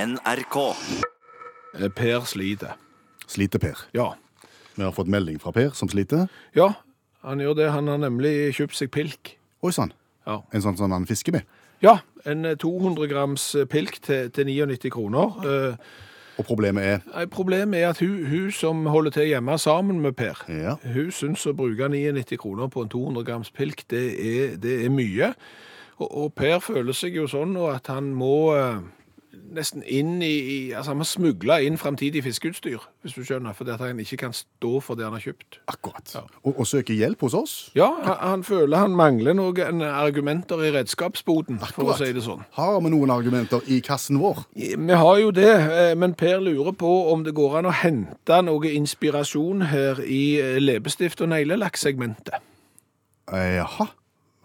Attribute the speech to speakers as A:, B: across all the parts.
A: NRK.
B: Eh, Per sliter.
C: Sliter Per.
B: Ja.
C: Vi har fått melding fra Per som sliter.
B: Ja, han gjør det. Han har nemlig kjøpt seg pilk.
C: Oi sann,
B: Ja.
C: en sånn som han fisker med.
B: Ja, en eh, 200 grams eh, pilk til, til 99 kroner. Eh,
C: Og problemet er
B: nei, problemet er at hun, hun som holder til hjemme sammen med Per,
C: Ja.
B: hun syns å bruke 99 kroner på en 200 grams pilk, det er, det er mye. Og, og Per føler seg jo sånn nå at han må eh, nesten inn i, i Altså han må smugle inn framtidig fiskeutstyr, hvis du skjønner, fordi at han ikke kan stå for det han har kjøpt.
C: Akkurat. Og, og søker hjelp hos oss.
B: Ja, han, han føler han mangler noen argumenter i redskapsboden, for å
C: Akkurat.
B: si det sånn.
C: Har vi noen argumenter i kassen vår?
B: Vi har jo det, eh, men Per lurer på om det går an å hente noe inspirasjon her i eh, leppestift- og neglelakksegmentet.
C: Eh, Jaha.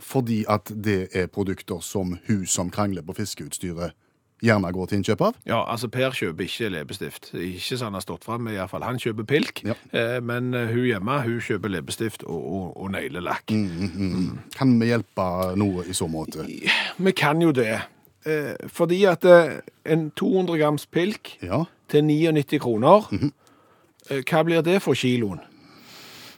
C: Fordi at det er produkter som hun som krangler på fiskeutstyret, gjerne går til innkjøp av?
B: Ja, altså Per kjøper ikke leppestift. Ikke som han har stått fram med, iallfall. Han kjøper pilk,
C: Ja.
B: eh, men eh, hun hjemme hun kjøper leppestift og, og, og neglelakk. Mhm.
C: Kan vi hjelpe noe i så måte?
B: Vi kan jo det. Eh, fordi at eh, en 200 grams pilk
C: Ja.
B: til 99 kroner, eh, hva blir det for kiloen?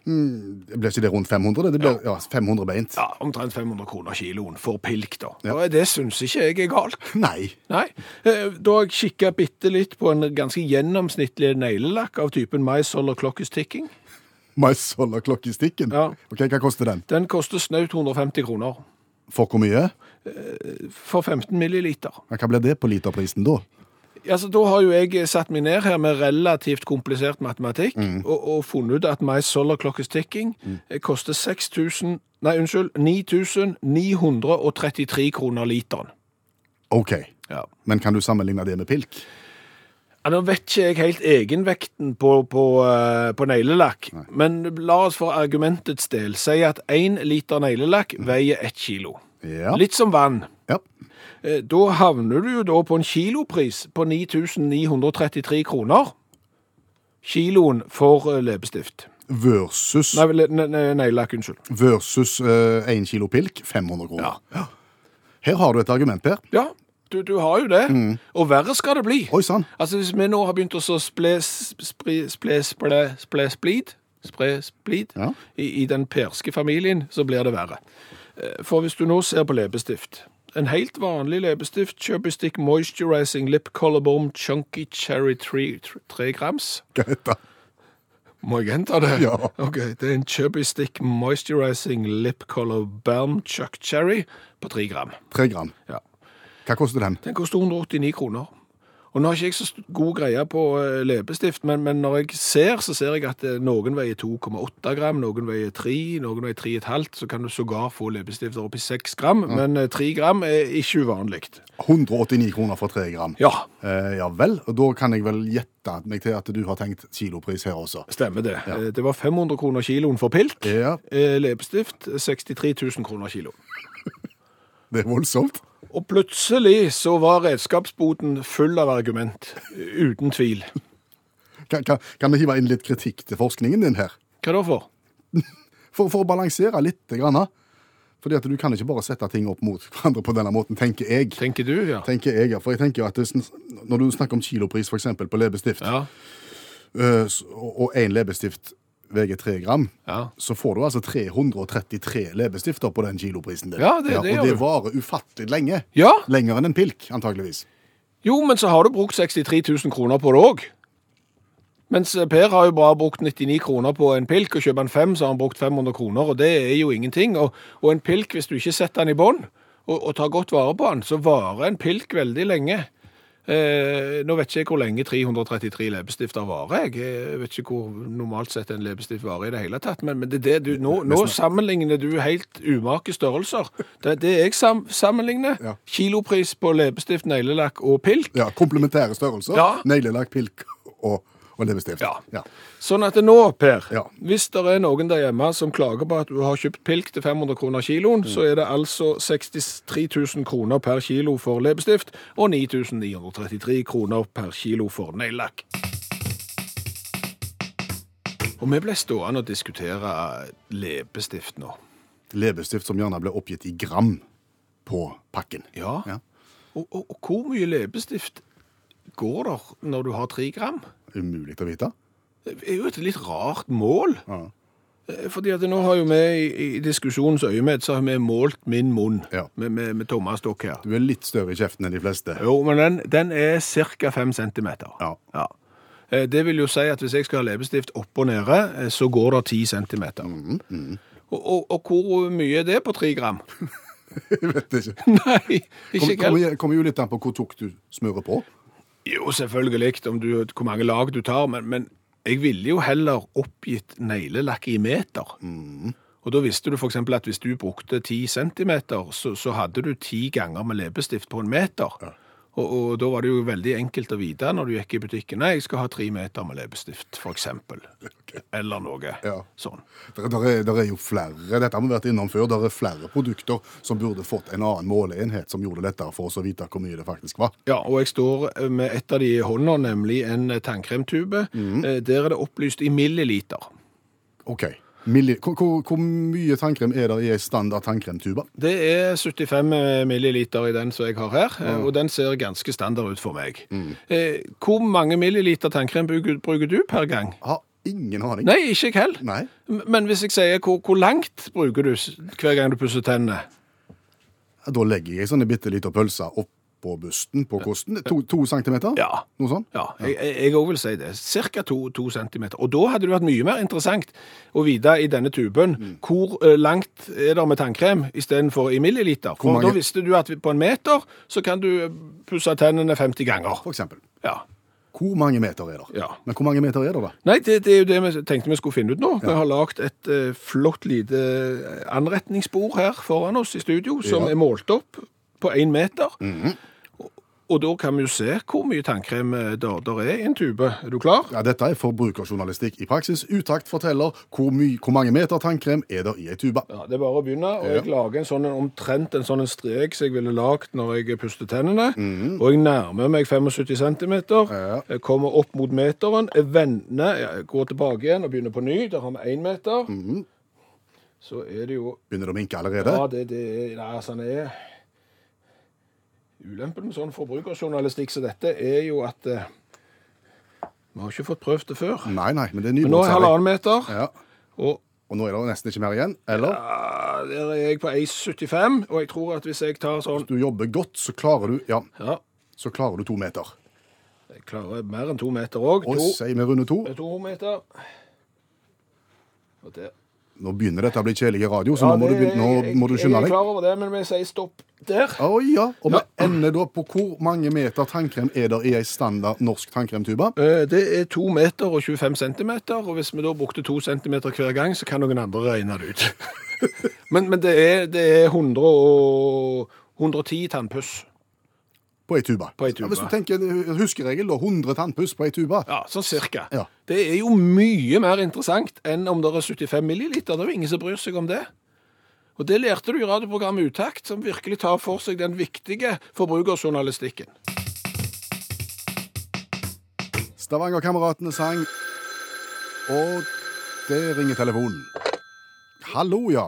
C: Det Ble ikke det rundt 500? Det ble ja, 500 beint.
B: Ja, Omtrent 500 kroner kiloen for pilk, da.
C: Ja.
B: Og Det syns ikke jeg er galt.
C: Nei.
B: Nei. Eh, Da har jeg kikka bitte litt på en ganske gjennomsnittlig neglelakk av typen Mais eller Clock is Ticking.
C: Maisholder klokkestikken?
B: Ja.
C: Ok, Hva koster den?
B: Den koster snaut 150 kroner
C: For hvor mye?
B: for 15 milliliter.
C: Ja, Hva blir det på literprisen da?
B: Altså, da har jo jeg satt meg ned her med relativt komplisert matematikk og, og funnet ut at Mais eller Clock is Ticking eh, koster 6000 Nei, unnskyld, 9933 kroner literen.
C: OK.
B: Ja.
C: Men kan du sammenligne det med pilk?
B: Ja, nå vet ikke jeg helt egenvekten på, på, eh, på neglelakk, men la oss for argumentets del si at én liter neglelakk veier ett kilo.
C: Ja.
B: Litt som vann.
C: ja.
B: Eh, Da havner du jo da på en kilopris på 9933 kroner. Kiloen for eh, leppestift.
C: Versus
B: Nei, le- ne- ne- neglelakk, unnskyld.
C: versus eh, én kilo pilk 500 kroner. Ja. Her har du et argument, Per.
B: Ja, du, du har jo det. Og verre skal det bli.
C: Oi sann.
B: Altså, hvis vi nå har begynt å så sple, spre, sple, sple, sple, splid, spre, splid
C: Ja.
B: i, i den perske familien, så blir det verre. Eh, For hvis du nå ser på leppestift, en helt vanlig leppestift, Chubbystick Moisturizing Lip Color Bomb Chunky Cherry 3, 3 grams.
C: Hva heter det?
B: Må jeg gjenta det?
C: Ja.
B: Ok, det er en Chubbystick Moisturizing Lip Color Bomb Chuck Cherry på 3 gram.
C: Tre gram.
B: Ja.
C: Hva koster den?
B: Den koster 189 kroner. Og nå har ikke jeg så st- god greie på eh, leppestift, men, men når jeg ser, så ser jeg at eh, noen veier 2,8 gram, noen veier 3, noen veier 3,5, så kan du sågar få leppestifter opp i 6 gram, men eh, 3 gram er ikke uvanlig.
C: 189 kroner for tre gram.
B: Ja,
C: Eh, ja vel. Og da kan jeg vel gjette meg til at du har tenkt kilopris her også.
B: stemmer det. Eh, Det var 500 kroner kiloen for pilk,
C: Ja,
B: eh, leppestift 63 000 kroner kilo.
C: det er voldsomt.
B: Og plutselig så var redskapsboten full av argument, uten tvil.
C: Kan, kan, kan vi hive inn litt kritikk til forskningen din her?
B: Hva da for?
C: For, for å balansere litt. Grann, da. Fordi at du kan ikke bare sette ting opp mot hverandre på denne måten, tenker jeg.
B: Tenker du, ja.
C: Tenker jeg, ja. For jeg tenker jo at det, er sånn- Når du snakker om kilopris for eksempel, på leppestift,
B: Ja,
C: eh, s- og- og én leppestift veier tre gram,
B: ja.
C: så får du altså 333 leppestifter på den kiloprisen der.
B: Ja, det- det gjør
C: og det
B: du.
C: varer ufattelig lenge.
B: Ja,
C: Lenger enn en pilk, antakeligvis.
B: Jo, men så har du brukt 63 000 kroner på det òg. Mens eh, Per har jo bare brukt 99 kroner på en pilk, og kjøper han fem, så har han brukt 500 kroner, og det er jo ingenting. Og, og en pilk, hvis du ikke setter den i bånd og, og tar godt vare på den, så varer en pilk veldig lenge. Eh, nå vet ikke jeg hvor lenge 333 leppestifter varer. Jeg Jeg vet ikke hvor normalt sett en leppestift varer i det hele tatt. Men, men det, er det du, nå, nå sammenligner du helt umake størrelser. Det, det jeg sam, sammenligner,
C: Ja.
B: kilopris på leppestift, neglelakk og pilk,
C: Ja, Komplementære størrelser.
B: Ja.
C: Neglelakk, pilk og, og leppestift.
B: Ja.
C: Ja.
B: Sånn at nå, Per,
C: Ja.
B: hvis det er noen der hjemme som klager på at du har kjøpt pilk til 500 kroner kiloen, så er det altså 63 000 kroner per kilo for leppestift og 9933 kroner per kilo for neglelakk. Og vi ble stående og diskutere leppestift nå.
C: Leppestift som gjerne ble oppgitt i gram på pakken.
B: Ja.
C: Ja.
B: Og, og, og hvor mye leppestift går der når du har tre gram?
C: Umulig å vite.
B: Det er jo et litt rart mål.
C: Ja.
B: Eh, Fordi at nå har jo vi i, i diskusjonens øyemed så har vi målt min munn
C: Ja.
B: med, med, med tommestokk her.
C: Du er litt større i kjeften enn de fleste.
B: Jo, men den, den er ca. 5 cm.
C: Ja.
B: Eh, Det vil jo si at hvis jeg skal ha leppestift opp og nede, eh, så går det 10 cm.
C: Mm,
B: Og, og, og hvor mye er det på 3 gram?
C: Jeg vet ikke.
B: Nei, ikke
C: Kommer
B: helt.
C: kom, kommer jo litt an på hvor tjukt du smører på.
B: Jo, selvfølgelig, om du, hvor mange lag du tar, men, men jeg ville jo heller oppgitt neglelakk i meter. Og da visste du for eksempel at hvis du brukte 10 centimeter, så, så hadde du 10 ganger med leppestift på en meter. Og, og da var det jo veldig enkelt å vite når du gikk i butikken, nei, jeg skal ha 3 meter med leppestift, for eksempel. Eller noe
C: Ja.
B: sånn.
C: Der, der, er, der er jo flere dette har vi vært innom før, der er flere produkter som burde fått en annen måleenhet, som gjorde det lettere for oss å vite hvor mye det faktisk var.
B: Ja, og jeg står eh, med et av de i hånda, nemlig en tannkremtube. Eh, Der er det opplyst i milliliter.
C: Ok. Milli hvor, hvor, hvor mye tannkrem er der i ei standard tannkremtube?
B: Det er 75 milliliter i den som jeg har her, eh, og den ser ganske standard ut for meg.
C: Mm.
B: Eh, Hvor mange milliliter tannkrem bruker bruker du per gang?
C: Har ingen aning.
B: Nei, ikke jeg heller.
C: Nei.
B: M- Men hvis jeg sier hvor, hvor langt bruker du s- hver gang du pusser tennene?
C: Ja, Da legger jeg sånne bitte lite pølser oppå busten på kosten. To, to centimeter?
B: Ja.
C: Noe sånt?
B: Ja, jeg- jeg òg vil si det. Cirka to, to centimeter. Og da hadde det vært mye mer interessant å vite i denne tuben
C: Mm.
B: hvor eh, langt er det med tannkrem istedenfor i milliliter. For
C: Hvor mange-
B: da visste du at på en meter så kan du eh, pusse tennene 50 ganger.
C: For eksempel.
B: Ja.
C: Hvor mange meter er det?
B: Ja.
C: Men hvor mange meter er det, da?
B: Nei, det, det er jo det vi tenkte vi skulle finne ut nå. Vi har lagd et eh, flott lite eh, anretningsbord her foran oss i studio, som
C: Ja. Mhm.
B: er målt opp på én meter. Og- Og da kan vi jo se hvor mye tannkrem eh, der, der er i en tube. Er du klar?
C: Ja, Dette er forbrukerjournalistikk i praksis. Utakt forteller hvor, my hvor mange meter tannkrem er det i ei tube.
B: Ja, Det er bare å begynne. og Jeg lager en sånn, en- omtrent en sånn en strek som jeg ville lagd når jeg pustet tennene. Og jeg nærmer meg 75 cm.
C: Mhm. Ja.
B: Kommer opp mot meteren. jeg Vender, ja, jeg går tilbake igjen og begynner på ny. Der har vi én meter.
C: Mhm.
B: Så er det jo
C: Begynner det å minke allerede?
B: Ja, det, det er, nei, altså, det er Ulempen med sånn forbrukerjournalistikk som dette er jo at eh, Vi har ikke fått prøvd det før.
C: Nei, nei, men det er
B: Men nå er jeg
C: nybrottsarbeid.
B: halvannen meter,
C: Ja.
B: og
C: Og nå er det nesten ikke mer igjen. Eller?
B: ah, der er jeg på 1,75. Og jeg tror at hvis jeg tar sånn
C: Du jobber godt, så klarer du Ja,
B: Ja,
C: så klarer du to meter.
B: jeg klarer mer enn to meter òg.
C: Og
B: To,
C: sier vi runde to.
B: to meter. Og der.
C: Nå begynner dette å bli kjedelig radio, så
B: Ja,
C: nå må du,
B: det-
C: begynne, nå
B: jeg-
C: må du skynde
B: Jeg er
C: deg.
B: klar over det, men vi sier stopp der.
C: Å ja. Og vi
B: Ja.
C: ender da på hvor mange meter tannkrem er det i ei standard norsk tannkremtube?
B: Eh, Det er 2 meter og 25 centimeter, og hvis vi da brukte 2 centimeter hver gang, så kan noen andre regne det ut. men men det, er, det er 100 og 110 tannpuss.
C: På ei tube.
B: På ei tube.
C: Ja, hvis du tenker en huskeregel, da. 100 tannpuss på ei tube.
B: Ja, sånn cirka.
C: Ja.
B: Det er jo mye mer interessant enn om det er 75 milliliter. Det er jo ingen som bryr seg om det. Og det lærte du i radioprogrammet Utakt, som virkelig tar for seg den viktige forbrukerjournalistikken.
C: Stavangerkameratene sang Og det ringer telefonen. Hallo, ja.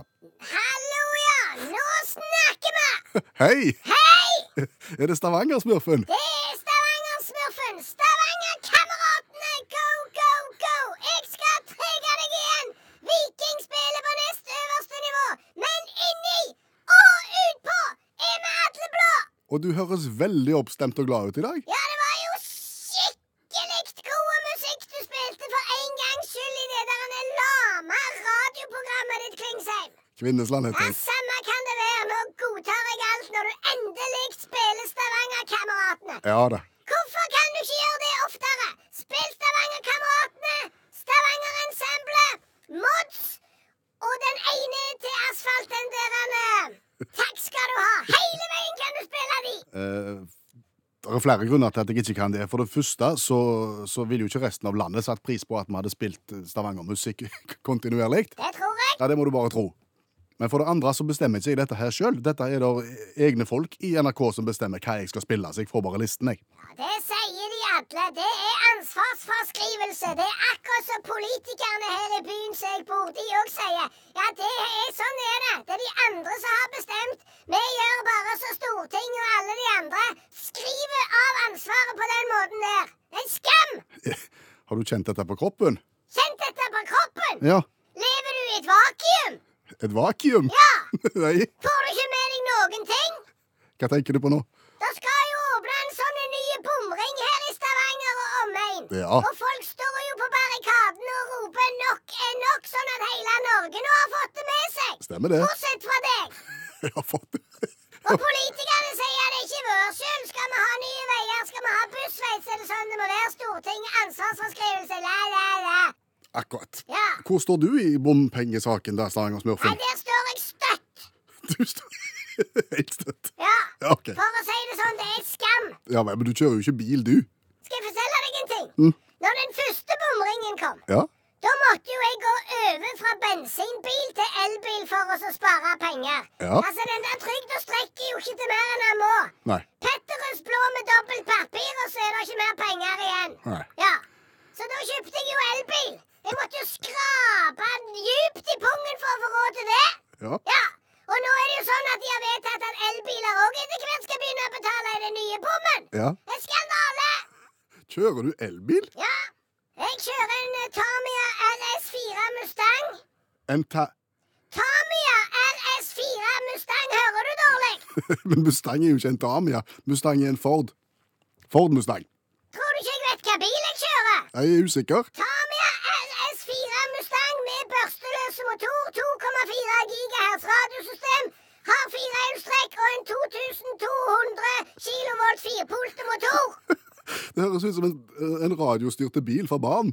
A: Hallo, ja! Nå snakker vi!
C: Hei! Er det Stavanger-smurfen?
A: Det er Stavanger-smurfen! Stavanger-kameratene! Go, go, go! Jeg skal trigge deg igjen! Viking spiller på nest øverste nivå, men inni og utpå er vi alle blå!
C: Og du høres veldig oppstemt og glad ut i dag.
A: Ja, det var jo skikkelig god musikk du spilte for en gangs skyld i det der lame radioprogrammet ditt, Klingsheim!
C: Kvinnesland heter
A: Ja,
C: jeg.
A: samme kan det være. Nå godtar jeg alt når du endelig spiller Stavanger-kameratene.
C: Ja da.
A: Hvorfor kan du ikke gjøre det oftere? Spill Stavanger-kameratene, Stavanger-ensemblet, Mods og den ene til asfalt, den der eh, Takk skal du ha. Hele veien kan du spille de.
C: Eh, det er flere grunner til at jeg ikke kan det. For det første så, så ville jo ikke resten av landet satt pris på at vi hadde spilt Stavanger-musikk kontinuerlig.
A: Det tror jeg.
C: Ja, det må du bare tro. Men for det andre så bestemmer ikke jeg dette her sjøl. Dette er det egne folk i NRK som bestemmer hva jeg skal spille, så jeg får bare listen, jeg.
A: Ja, Det sier de alle. Det er ansvarsfraskrivelse. Det er akkurat som politikerne her i byen som jeg bor i, òg sier. Ja, det er sånn er det. Det er de andre som har bestemt. Vi gjør bare som Stortinget og alle de andre. Skriver av ansvaret på den måten
C: Har du kjent dette på kroppen?
A: Kjent dette på kroppen!
C: Ja.
A: Lever du i et vakuum?
C: Et vakuum?
A: Ja!
C: Nei,
A: Får du ikke med deg noen ting?
C: hva tenker du på nå?
A: Det skal jo åpne en sånn en ny bomring her i Stavanger og omegn.
C: Ja.
A: Og folk står jo på barrikadene og roper 'nok er nok', sånn at hele Norge nå har fått det med seg.
C: Stemmer det?
A: Bortsett fra deg.
C: Jeg har fått det.
A: Og politikerne sier det er ikke vår skyld. Skal vi ha nye veier, skal vi ha bussvei, så er det sånn det må være. Stortinget, ansvarsforskrivelse, la, la, la.
C: Akkurat.
A: Ja.
C: Hvor står du i bompengesaken der, Stavanger-smurfen?
A: Nei, der står jeg støtt.
C: Du står helt støtt.
A: Ja.
C: Ja, ok.
A: For å si det sånn, det er et skam.
C: Ja, men du kjører jo ikke bil, du.
A: Skal jeg fortelle deg en ting?
C: Mm.
A: Når den første bomringen kom
C: Ja?
A: Da måtte jo jeg gå over fra bensinbil til elbil for å så spare penger.
C: Ja.
A: Altså, Den der trygda strekker jo ikke til mer enn han må.
C: Nei.
A: Petterøes blå med dobbelt papir, og så er det ikke mer penger igjen.
C: Nei.
A: Ja. Så da kjøpte jeg jo elbil. Jeg måtte jo skrape den djupt i pungen for å få råd til det.
C: Ja.
A: Ja. Og nå er det jo sånn at de har vedtatt at elbiler òg etter hvert skal begynne å betale i den nye bommen.
C: Ja.
A: En skandale!
C: Kjører du elbil?
A: Ja. Jeg kjører en eh, Tamiya RS4 Mustang.
C: En ta...
A: Tamiya RS4 Mustang, hører du dårlig?
C: Men Mustang er jo ikke en Tamia. Mustang er en Ford. Ford Mustang.
A: Tror du ikke jeg vet hva bil jeg kjører?
C: Jeg er usikker.
A: Tamiya RS4 Mustang med børsteløs motor, 2,4 GHz radiosystem, har firehjulstrekk og en 2200 kV firpolte motor.
C: Det høres ut som en, eh, en radiostyrte bil for barn.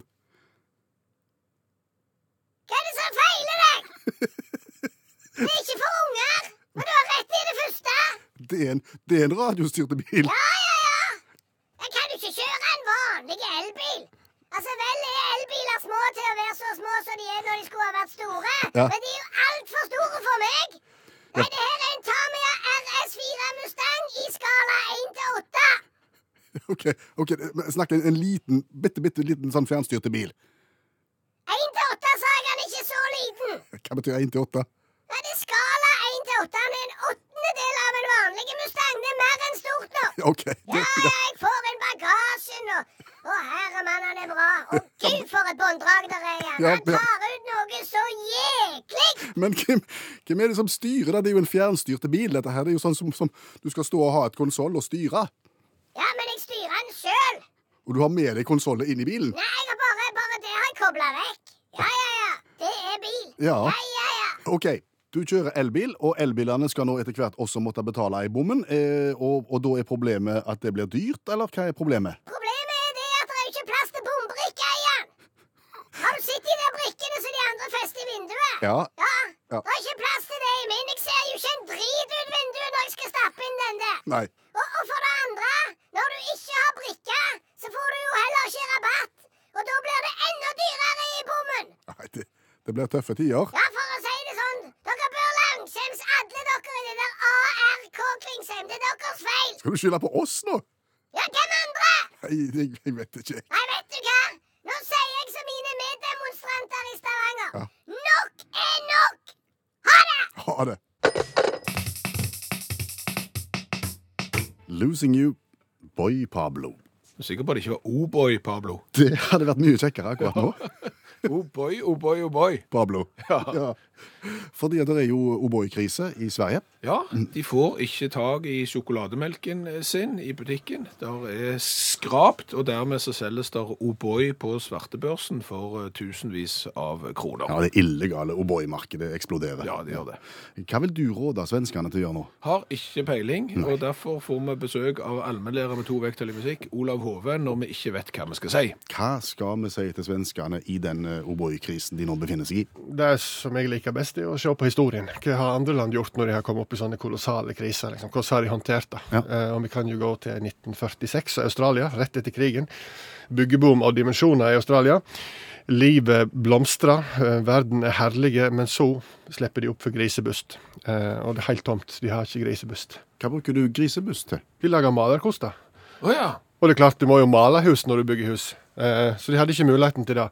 A: Hva er det som feiler deg? Det er ikke for unger, men du har rett i det første.
C: Det er en, det er en radiostyrte bil.
A: Ja, ja, ja. Jeg kan jo ikke kjøre en vanlig elbil. Altså, Vel er elbiler små til å være så små som de er når de skulle ha vært store,
C: Ja.
A: men de er jo altfor store for meg. Nei, det her er en Tamiya RS4 Mustang i skala 1 til 8.
C: Ok, ok, men Snakk en, en liten, bitte, bitte liten sånn fjernstyrte bil.
A: 1 til 8 sa jeg han er ikke så liten.
C: Hva betyr 1 til 8?
A: Nei, det er skala 1 til 8. Han er en åttendedel av en vanlig Mustang. Det er mer enn stort nok.
C: Ok.
A: Ja,
C: Det,
A: ja, jeg får en bagasje nå. Å, herre mann, han er bra. Å, gud, for et bånddrag der er. ja.
C: Ja,
A: Han
C: ja.
A: tar ut noe så jæklig.
C: Men hvem, hvem er det som styrer det? Det er jo en fjernstyrte bil. Dette her det er jo sånn som, som du skal stå og ha et konsoll og styre.
A: Ja, men jeg styrer han sjøl.
C: Og du har med deg konsollet inn i bilen.
A: Nei, jeg har bare, bare det har jeg kobla vekk. Ja, ja, ja. Det er bil.
C: Ja.
A: ja, ja.
C: OK, du kjører elbil, og elbilene skal nå etter hvert også måtte betale i bommen. Eh, og, og da er problemet at det blir dyrt, eller hva er problemet?
A: Problemet er det at det er ikke plass til bombrikker i den. Har du sett de der brikkene som de andre fester i vinduet?
C: Ja,
A: Ja.
C: Ja.
A: Det er ikke plass til det i min. Jeg ser jo ikke en drit ut vinduet når jeg skal stappe inn den der.
C: nei.
A: Og, og for det andre, når du ikke har brikke, så får du jo heller ikke rabatt. Og da blir det enda dyrere i bommen.
C: nei det, det blir tøffe tider.
A: Ja, for å si det sånn, dere bør langskjems alle dere i det der ARK Klingsheim. Det er deres feil.
C: Skal du skylde på oss nå?
A: Ja, hvem andre?
C: Nei, jeg, jeg vet ikke.
A: Nei, vet du hva? Nå sier jeg som mine meddemonstranter i Stavanger.
C: Ja.
A: Nok er nok! Ha det!
C: Ha det. Losing you, boy Pablo.
B: Jeg er sikker på at det ikke var O'boy, Pablo.
C: Det hadde vært mye kjekkere akkurat nå.
B: O'boy, O'boy, O'boy.
C: Pablo.
B: Ja.
C: Fordi at det er jo O'boy-krise i Sverige.
B: Ja, de får ikke tak i sjokolademelken eh, sin i butikken. Der er skrapt, og dermed så selges der O'boy på svartebørsen for eh, tusenvis av kroner.
C: Ja, Det illegale O'boy-markedet eksploderer.
B: Ja, de gjør det.
C: Hva vil du råde svenskene til å gjøre nå?
B: Har ikke peiling, og derfor får vi besøk av allmennlærer med to vekttall i musikk, Olav Hove, når vi ikke vet hva vi skal si.
C: Hva skal vi si til svenskene i den eh, O'boy-krisen de nå befinner seg i?
D: Det som jeg liker best, er å se på historien. Hva har andre land gjort når de har kommet opp i sånne kolossale kriser? Liksom? Hvordan har de håndtert det?
C: Ja.
D: Eh, og vi kan jo gå til 1946 og Australia, rett etter krigen. Byggeboom av dimensjoner i Australia. Livet blomstrer, eh, verden er herlige, men så slipper de opp for grisebust. Eh, og det er helt tomt, de har ikke grisebust.
C: Hva bruker du grisebuss til?
D: Vi lager malerkost, da.
B: Å ja.
D: Og det er klart, du må jo male hus når du bygger hus. Eh, så de hadde ikke muligheten til det.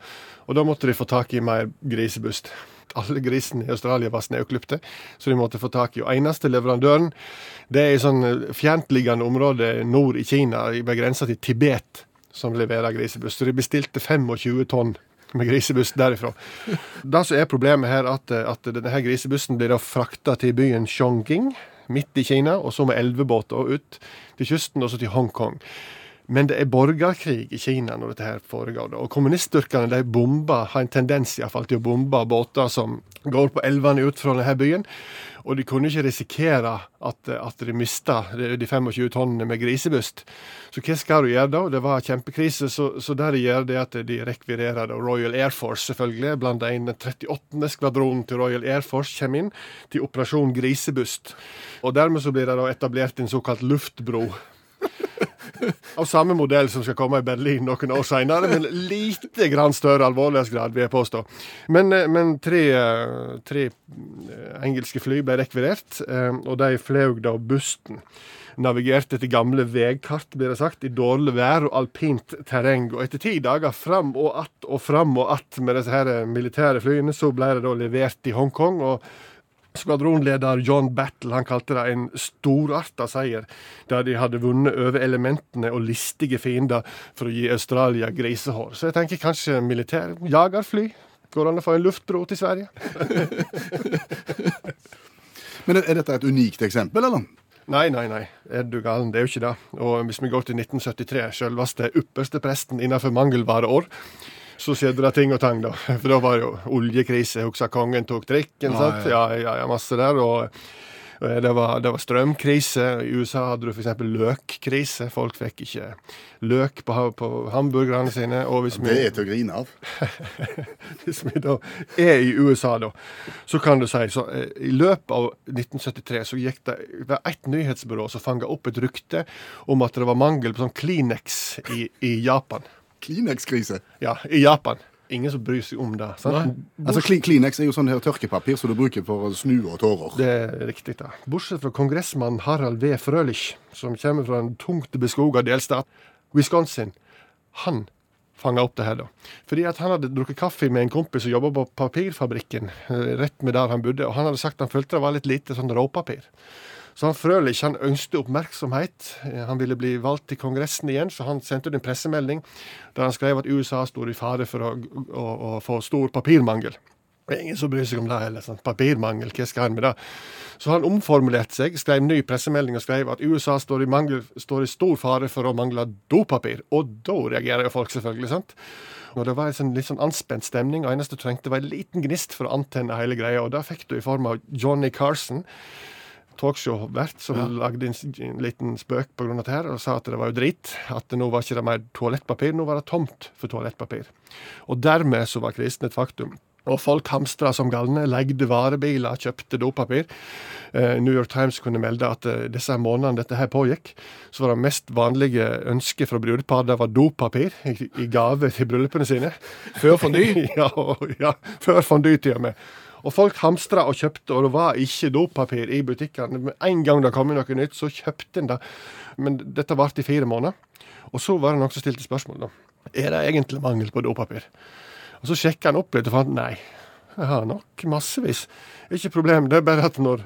D: Og da måtte de få tak i mer grisebust. Alle grisene i Australia var snauklypte, så de måtte få tak i. Og eneste leverandøren, det er i sånn eh, fjerntliggende område nord i Kina, begrensa til Tibet. som leverer grisebuss. Så de bestilte 25 tonn med grisebuss derifra. Det som er problemet her, at, eh, at denne her grisebussen blir da frakta til byen Chongqing midt i Kina, og så med elvebåter ut til kysten, og så til Hongkong. Men det er borgerkrig i Kina når dette her foregår. da. Og kommuniststyrkene de bomber, har en tendens i hvert fall til å bombe båter som går på elvene ut fra denne byen. Og de kunne ikke risikere at, at de mista de 25 tonnene med grisebust. Så hva skal du gjøre da? Det var kjempekrise, så, så det de gjør, det er at de rekvirerer da Royal Air Force, selvfølgelig. Blant inn 38. skvadronen til Royal Air Force kommer inn til Operasjon Grisebust. Og dermed så blir det da etablert en såkalt luftbro av samme modell som skal komme i Berlin noen år senere, men lite grann større alvorlighetsgrad, vil jeg påstå. Men, eh, men tre, eh, tre eh, engelske fly ble rekvirert, eh, og de fløy da busten. Navigerte etter gamle veikart, blir det sagt, i dårlig vær og alpint terreng. Og etter ti dager fram og att og fram og att med disse her eh, militære flyene, så ble det da levert i Hongkong. og Skvadronleder John Battle han kalte det en storarta seier, der de hadde vunnet over elementene og listige fiender for å gi Australia grisehår. Så jeg tenker kanskje militær jagerfly? Går det an å få en luftbro til Sverige?
C: Men er dette et unikt eksempel, eller?
D: Nei, nei, nei. Er du galen? Det er jo ikke det. Og hvis vi går til 1973, selveste ypperste presten innenfor mangelvareår, så skjedde det ting og tang, da. For da var det jo oljekrise. Husker kongen tok trikken,
C: Ja,
D: sant? Ja, ja, ja, masse der. Og og det var, det var strømkrise. I USA hadde du f.eks. løkkrise. Folk fikk ikke løk på, ha- på hamburgerne sine. Og hvis
C: Det er til å grine av.
D: hvis vi da er i USA, da, så kan du si så eh, I løpet av 1973 så gikk det det var ett nyhetsbyrå som fanga opp et rykte om at det var mangel på sånn Kleenex i, i Japan.
C: Kleenex-krise.
D: Ja, i Japan. Ingen som bryr seg om det. sant?
C: Altså, Kli- Kleenex er jo sånn her tørkepapir som du bruker for å snu og tårer.
D: Det er riktig, da. Bortsett fra kongressmann Harald V. Frølich, som kommer fra en tungt beskoga delstat, Wisconsin. Han fanga opp det her, da. Fordi at han hadde drukket kaffe med en kompis som jobba på papirfabrikken eh, rett med der han bodde, og han hadde sagt han følte det var litt lite sånn råpapir. Så han Frølich han ønsket oppmerksomhet. Eh, Han ville bli valgt til Kongressen igjen, så han sendte ut en pressemelding der han skrev at USA står i fare for å, å, å få stor papirmangel. Det er Ingen som bryr seg om det heller. Sant? Papirmangel, hva skal han med det? Så han omformulerte seg, skrev ny pressemelding og skrev at USA står i, mangel, står i stor fare for å mangle dopapir. Og da reagerer jo folk, selvfølgelig. sant? Og Det var en sånn, litt sånn anspent stemning, og eneste du trengte, var en liten gnist for å antenne hele greia. Og det fikk du i form av Johnny Carson, talkshow-vert, som lagde en, s- en liten spøk på grunn av det her, og sa at det var jo drit. At nå var ikke det mer toalettpapir, nå var det tomt for toalettpapir. Og dermed så var krisen et faktum. Og folk hamstra som galne, legde varebiler, kjøpte dopapir. Eh, New York Times kunne melde at eh, disse månedene dette her pågikk, så var det mest vanlige ønsket fra brudepar det var dopapir i, i gave til bryllupene sine.
B: Før forny.
D: ja, og- ja, før fondue til og med. Og folk hamstra og kjøpte, og det var ikke dopapir i butikkene. Med en gang det kom noe nytt, så kjøpte en det. Men dette varte i fire måneder. Og så var det noen som stilte spørsmål, da. Er det egentlig mangel på dopapir? Og så sjekka han opp litt og fant nei, jeg har nok massevis. Ikke problem, det er bare at når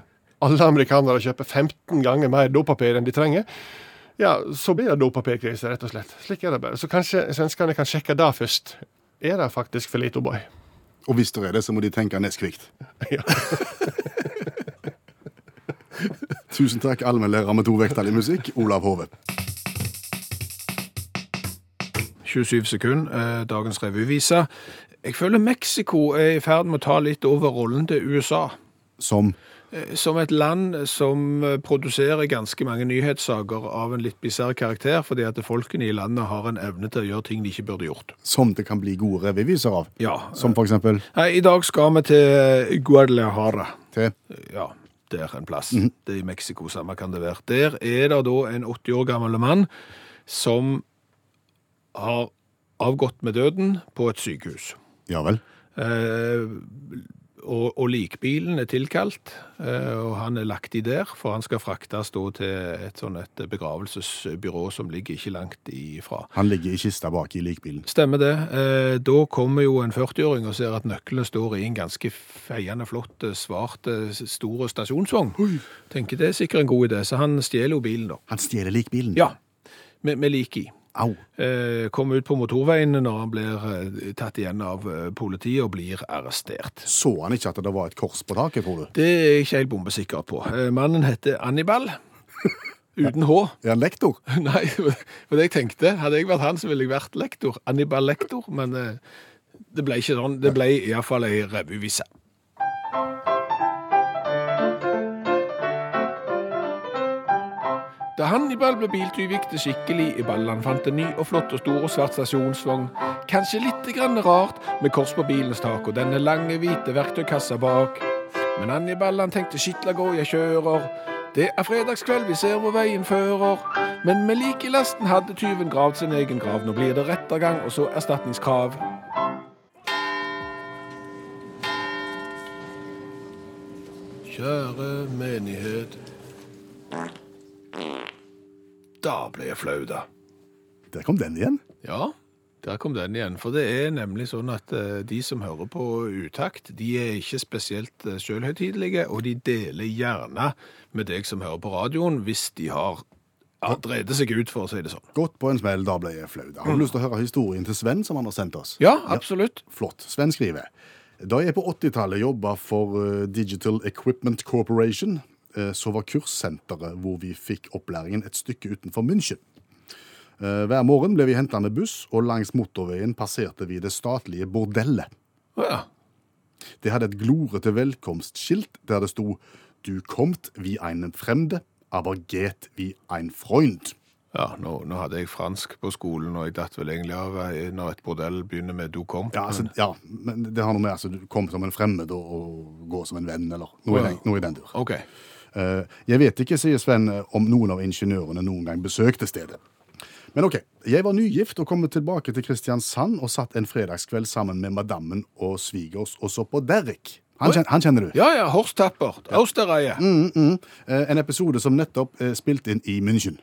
D: alle amerikanere kjøper 15 ganger mer dopapir enn de trenger, ja, så blir det dopapirkrise, rett og slett. Slik er det bare. Så kanskje svenskene kan sjekke det først. Er det faktisk for lite O'boy?
C: Og hvis det er det, så må de tenke nestkvikt.
D: Ja.
C: Tusen takk, allmennlærer med to vekttall i musikk, Olav Hove.
B: 27 sekunder, eh, dagens revyvise. Jeg føler Mexico er i ferd med å ta litt over rollen til USA.
C: Som
B: Eh, Som et land som eh, produserer ganske mange nyhetssaker av en litt bisarr karakter, fordi at folkene i landet har en evne til å gjøre ting de ikke burde gjort.
C: som det kan bli gode revyviser av.
B: Ja.
C: Som for eksempel
B: Nei, I dag skal vi til Guadalajara.
C: til
B: Ja, der en plass. Det er i Mexico, samme kan det være. Der er det da en 80 år gammel mann som har avgått med døden på et sykehus.
C: Ja vel.
B: Eh, og, og likbilen er tilkalt, eh, og han er lagt i der, for han skal fraktes da til et sånn et begravelsesbyrå som ligger ikke langt ifra.
C: Han ligger i kista bak i likbilen.
B: Stemmer det. Eh, da kommer jo en 40-åring og ser at nøkkelen står i en ganske feiende flott, eh, svart, eh, stor stasjonsvogn. Tenker det er sikkert en god idé, så han stjeler jo bilen da.
C: Han stjeler likbilen.
B: Ja, med, med lik i.
C: Au.
B: eh, kommer ut på motorveien når han blir eh, tatt igjen av eh, politiet og blir arrestert.
C: Så han ikke at det var et kors på taket, tror du?
B: Det er jeg ikke helt bombesikker på. Eh, Mannen heter Annibal, uten H.
C: Er han lektor?
B: Nei, for det jeg tenkte, hadde jeg vært han, så ville jeg vært lektor. Annibal lektor, men eh, det ble ikke sånn. Det ble iallfall ei revyvise. Da Hannibal ble biltyv, gikk det skikkelig i ballen. Han fant en ny og flott og stor og svart stasjonsvogn. Kanskje litt grann rart, med kors på bilens tak og denne lange, hvite verktøykassa bak. Men Hannibal han tenkte skitla gå, jeg kjører. Det er fredagskveld, vi ser hvor veien fører. Men med lik i lasten hadde tyven gravd sin egen grav. Nå blir det rettergang og så erstatningskrav. Kjære menighet. Da ble jeg flau, da.
C: Der kom den igjen.
B: Ja, der kom den igjen. For det er nemlig sånn at eh, de som hører på utakt, de er ikke spesielt eh, selvhøytidelige, og de deler gjerne med deg som hører på radioen, hvis de har ja, drevet seg ut, for å si det sånn.
C: Godt på en smell, da ble jeg flau. Da
D: Mm.
C: Har du lyst til å høre historien til Sven, som han har sendt oss?
B: Ja, absolutt.
C: Flott. Sven skriver. Da jeg på 80-tallet jobba for eh, Digital Equipment Corporation, eh, så var kurssenteret hvor vi fikk opplæringen et stykke utenfor München. Eh, Hver morgen ble vi henta med buss, og langs motorveien passerte vi det statlige bordellet.
B: Å ja.
C: Det hadde et glorete velkomstskilt der det sto «Du kommt wie einen fremde, aber geht wie ein Freund».
B: Ja, nå, nå hadde jeg fransk på skolen, og jeg datt vel egentlig av eh, når et bordell begynner med 'du kom'.
C: Ja, altså, ja, men det har noe med altså, du kom som en fremmed og, og gå som en venn, eller noe, i, den, noe i den dur.
B: OK.
C: Eh, Jeg vet ikke, sier Sven, eh, om noen av ingeniørene noen gang besøkte stedet. Men ok, jeg var nygift og kom tilbake til Kristiansand og satt en fredagskveld sammen med madammen og svigers og så på Derrick. Han, kjen, han kjenner du.
B: Ja ja, Mm. Horst Tappert. Austereie.
C: Eh, En episode som nettopp eh, spilt inn i München.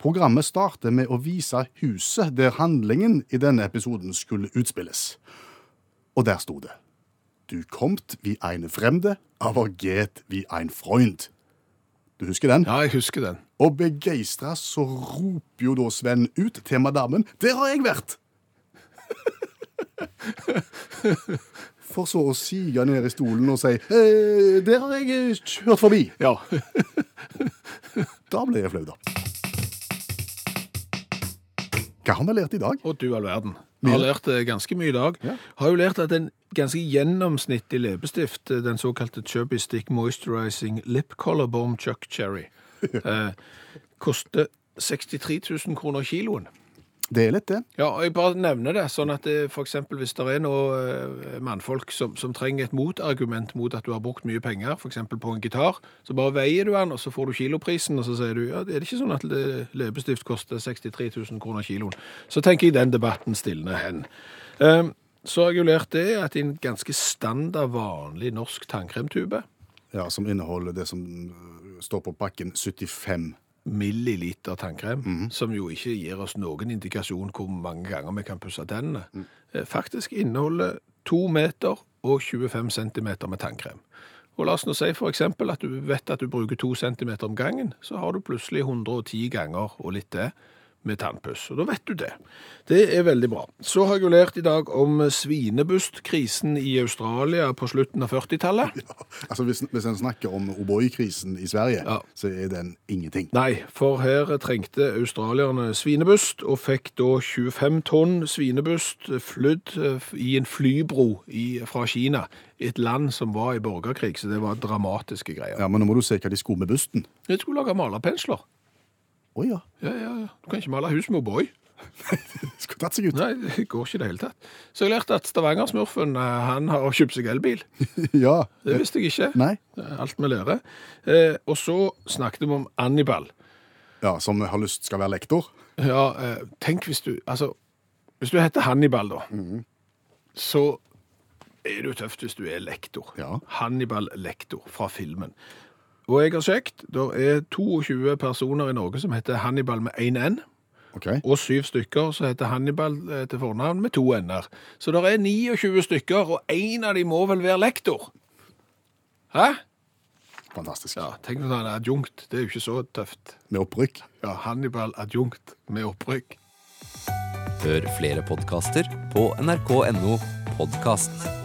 C: Programmet starter med å vise huset der handlingen i denne episoden skulle utspilles. Og der sto det. Du kommt wie eine fremde, aber geht wie ein Freund. Du husker den?
B: Ja, jeg husker den.
C: Og begeistra så roper jo da Sven ut til madammen Der har jeg vært! For så å sige ned i stolen og si eh, Der har jeg eh, kjørt forbi.
B: Ja.
C: Da ble jeg flau, da. Hva har vi lært i dag?
B: Og du all verden. Jeg har lært eh, ganske mye i dag. Har jo lært at en ganske gjennomsnittlig leppestift, eh, den såkalte Chubby Stick Moisturizing Lip Color Bomb Chuck Cherry, eh, koster 63 000 kroner kiloen.
C: Det er litt, det.
B: Ja, og jeg bare nevner det, sånn at det, for eksempel hvis det er noen eh, mannfolk som, som trenger et motargument mot at du har brukt mye penger, for eksempel på en gitar, så bare veier du den, og så får du kiloprisen, og så sier du, ja, er det ikke sånn at le- leppestift koster 63 000 kroner kiloen? Så tenker jeg den debatten stillende hen. Ehm, så har jeg jo lært det at i en ganske standard vanlig norsk tannkremtube,
C: Ja, Som inneholder det som øh, står på pakken 75.
B: milliliter tannkrem, som jo ikke gir oss noen indikasjon hvor mange ganger vi kan pusse tennene, eh, faktisk inneholder 2 meter og 25 centimeter med tannkrem. Og la oss nå si for eksempel at du vet at du bruker 2 centimeter om gangen, så har du plutselig 110 ganger og litt det med tannpuss, og da vet du det. Det er veldig bra. Så har jeg jo lært i dag om svinebustkrisen i Australia på slutten av 40-tallet.
C: Altså, Hvis, hvis en snakker om O'boy-krisen i Sverige,
B: Ja.
C: så er den ingenting.
B: Nei, for her trengte australierne svinebust, og fikk da 25 tonn svinebust flydd eh, i en flybro i, fra Kina. Et land som var i borgerkrig, så det var dramatiske greier.
C: Ja, Men nå må du se hva de skulle med busten.
B: Jeg skulle lage malerpensler.
C: Å ja.
B: Ja, ja, ja. Du kan ikke male hus med O'boy.
C: Skulle tatt seg ut.
B: Nei, det går ikke i det hele tatt. Så jeg lærte at Stavanger-smurfen eh, han har kjøpt seg elbil.
C: ja.
B: Det visste jeg ikke.
C: Nei.
B: Alt vi lærer. Eh, og så snakket vi om Annibal.
C: Ja, Som har lyst skal være lektor.
B: Ja, eh, tenk hvis du Altså, hvis du heter Hannibal, da, så er det jo tøft hvis du er lektor.
C: Ja.
B: Hannibal lektor fra filmen. Og jeg har sjekket, det er 22 personer i Norge som heter Hannibal med én N,
C: Ok.
B: og syv stykker som heter Hannibal eh, til fornavn med to N-er. Så det er 29 stykker, og én av dem må vel være lektor? Hæ?
C: Fantastisk.
B: Ja, tenk hvis han er adjunkt. Det er jo ikke så tøft.
C: Med opprykk.
B: Ja, Hannibal adjunkt med opprykk.
E: Hør flere podkaster på nrk.no podkast.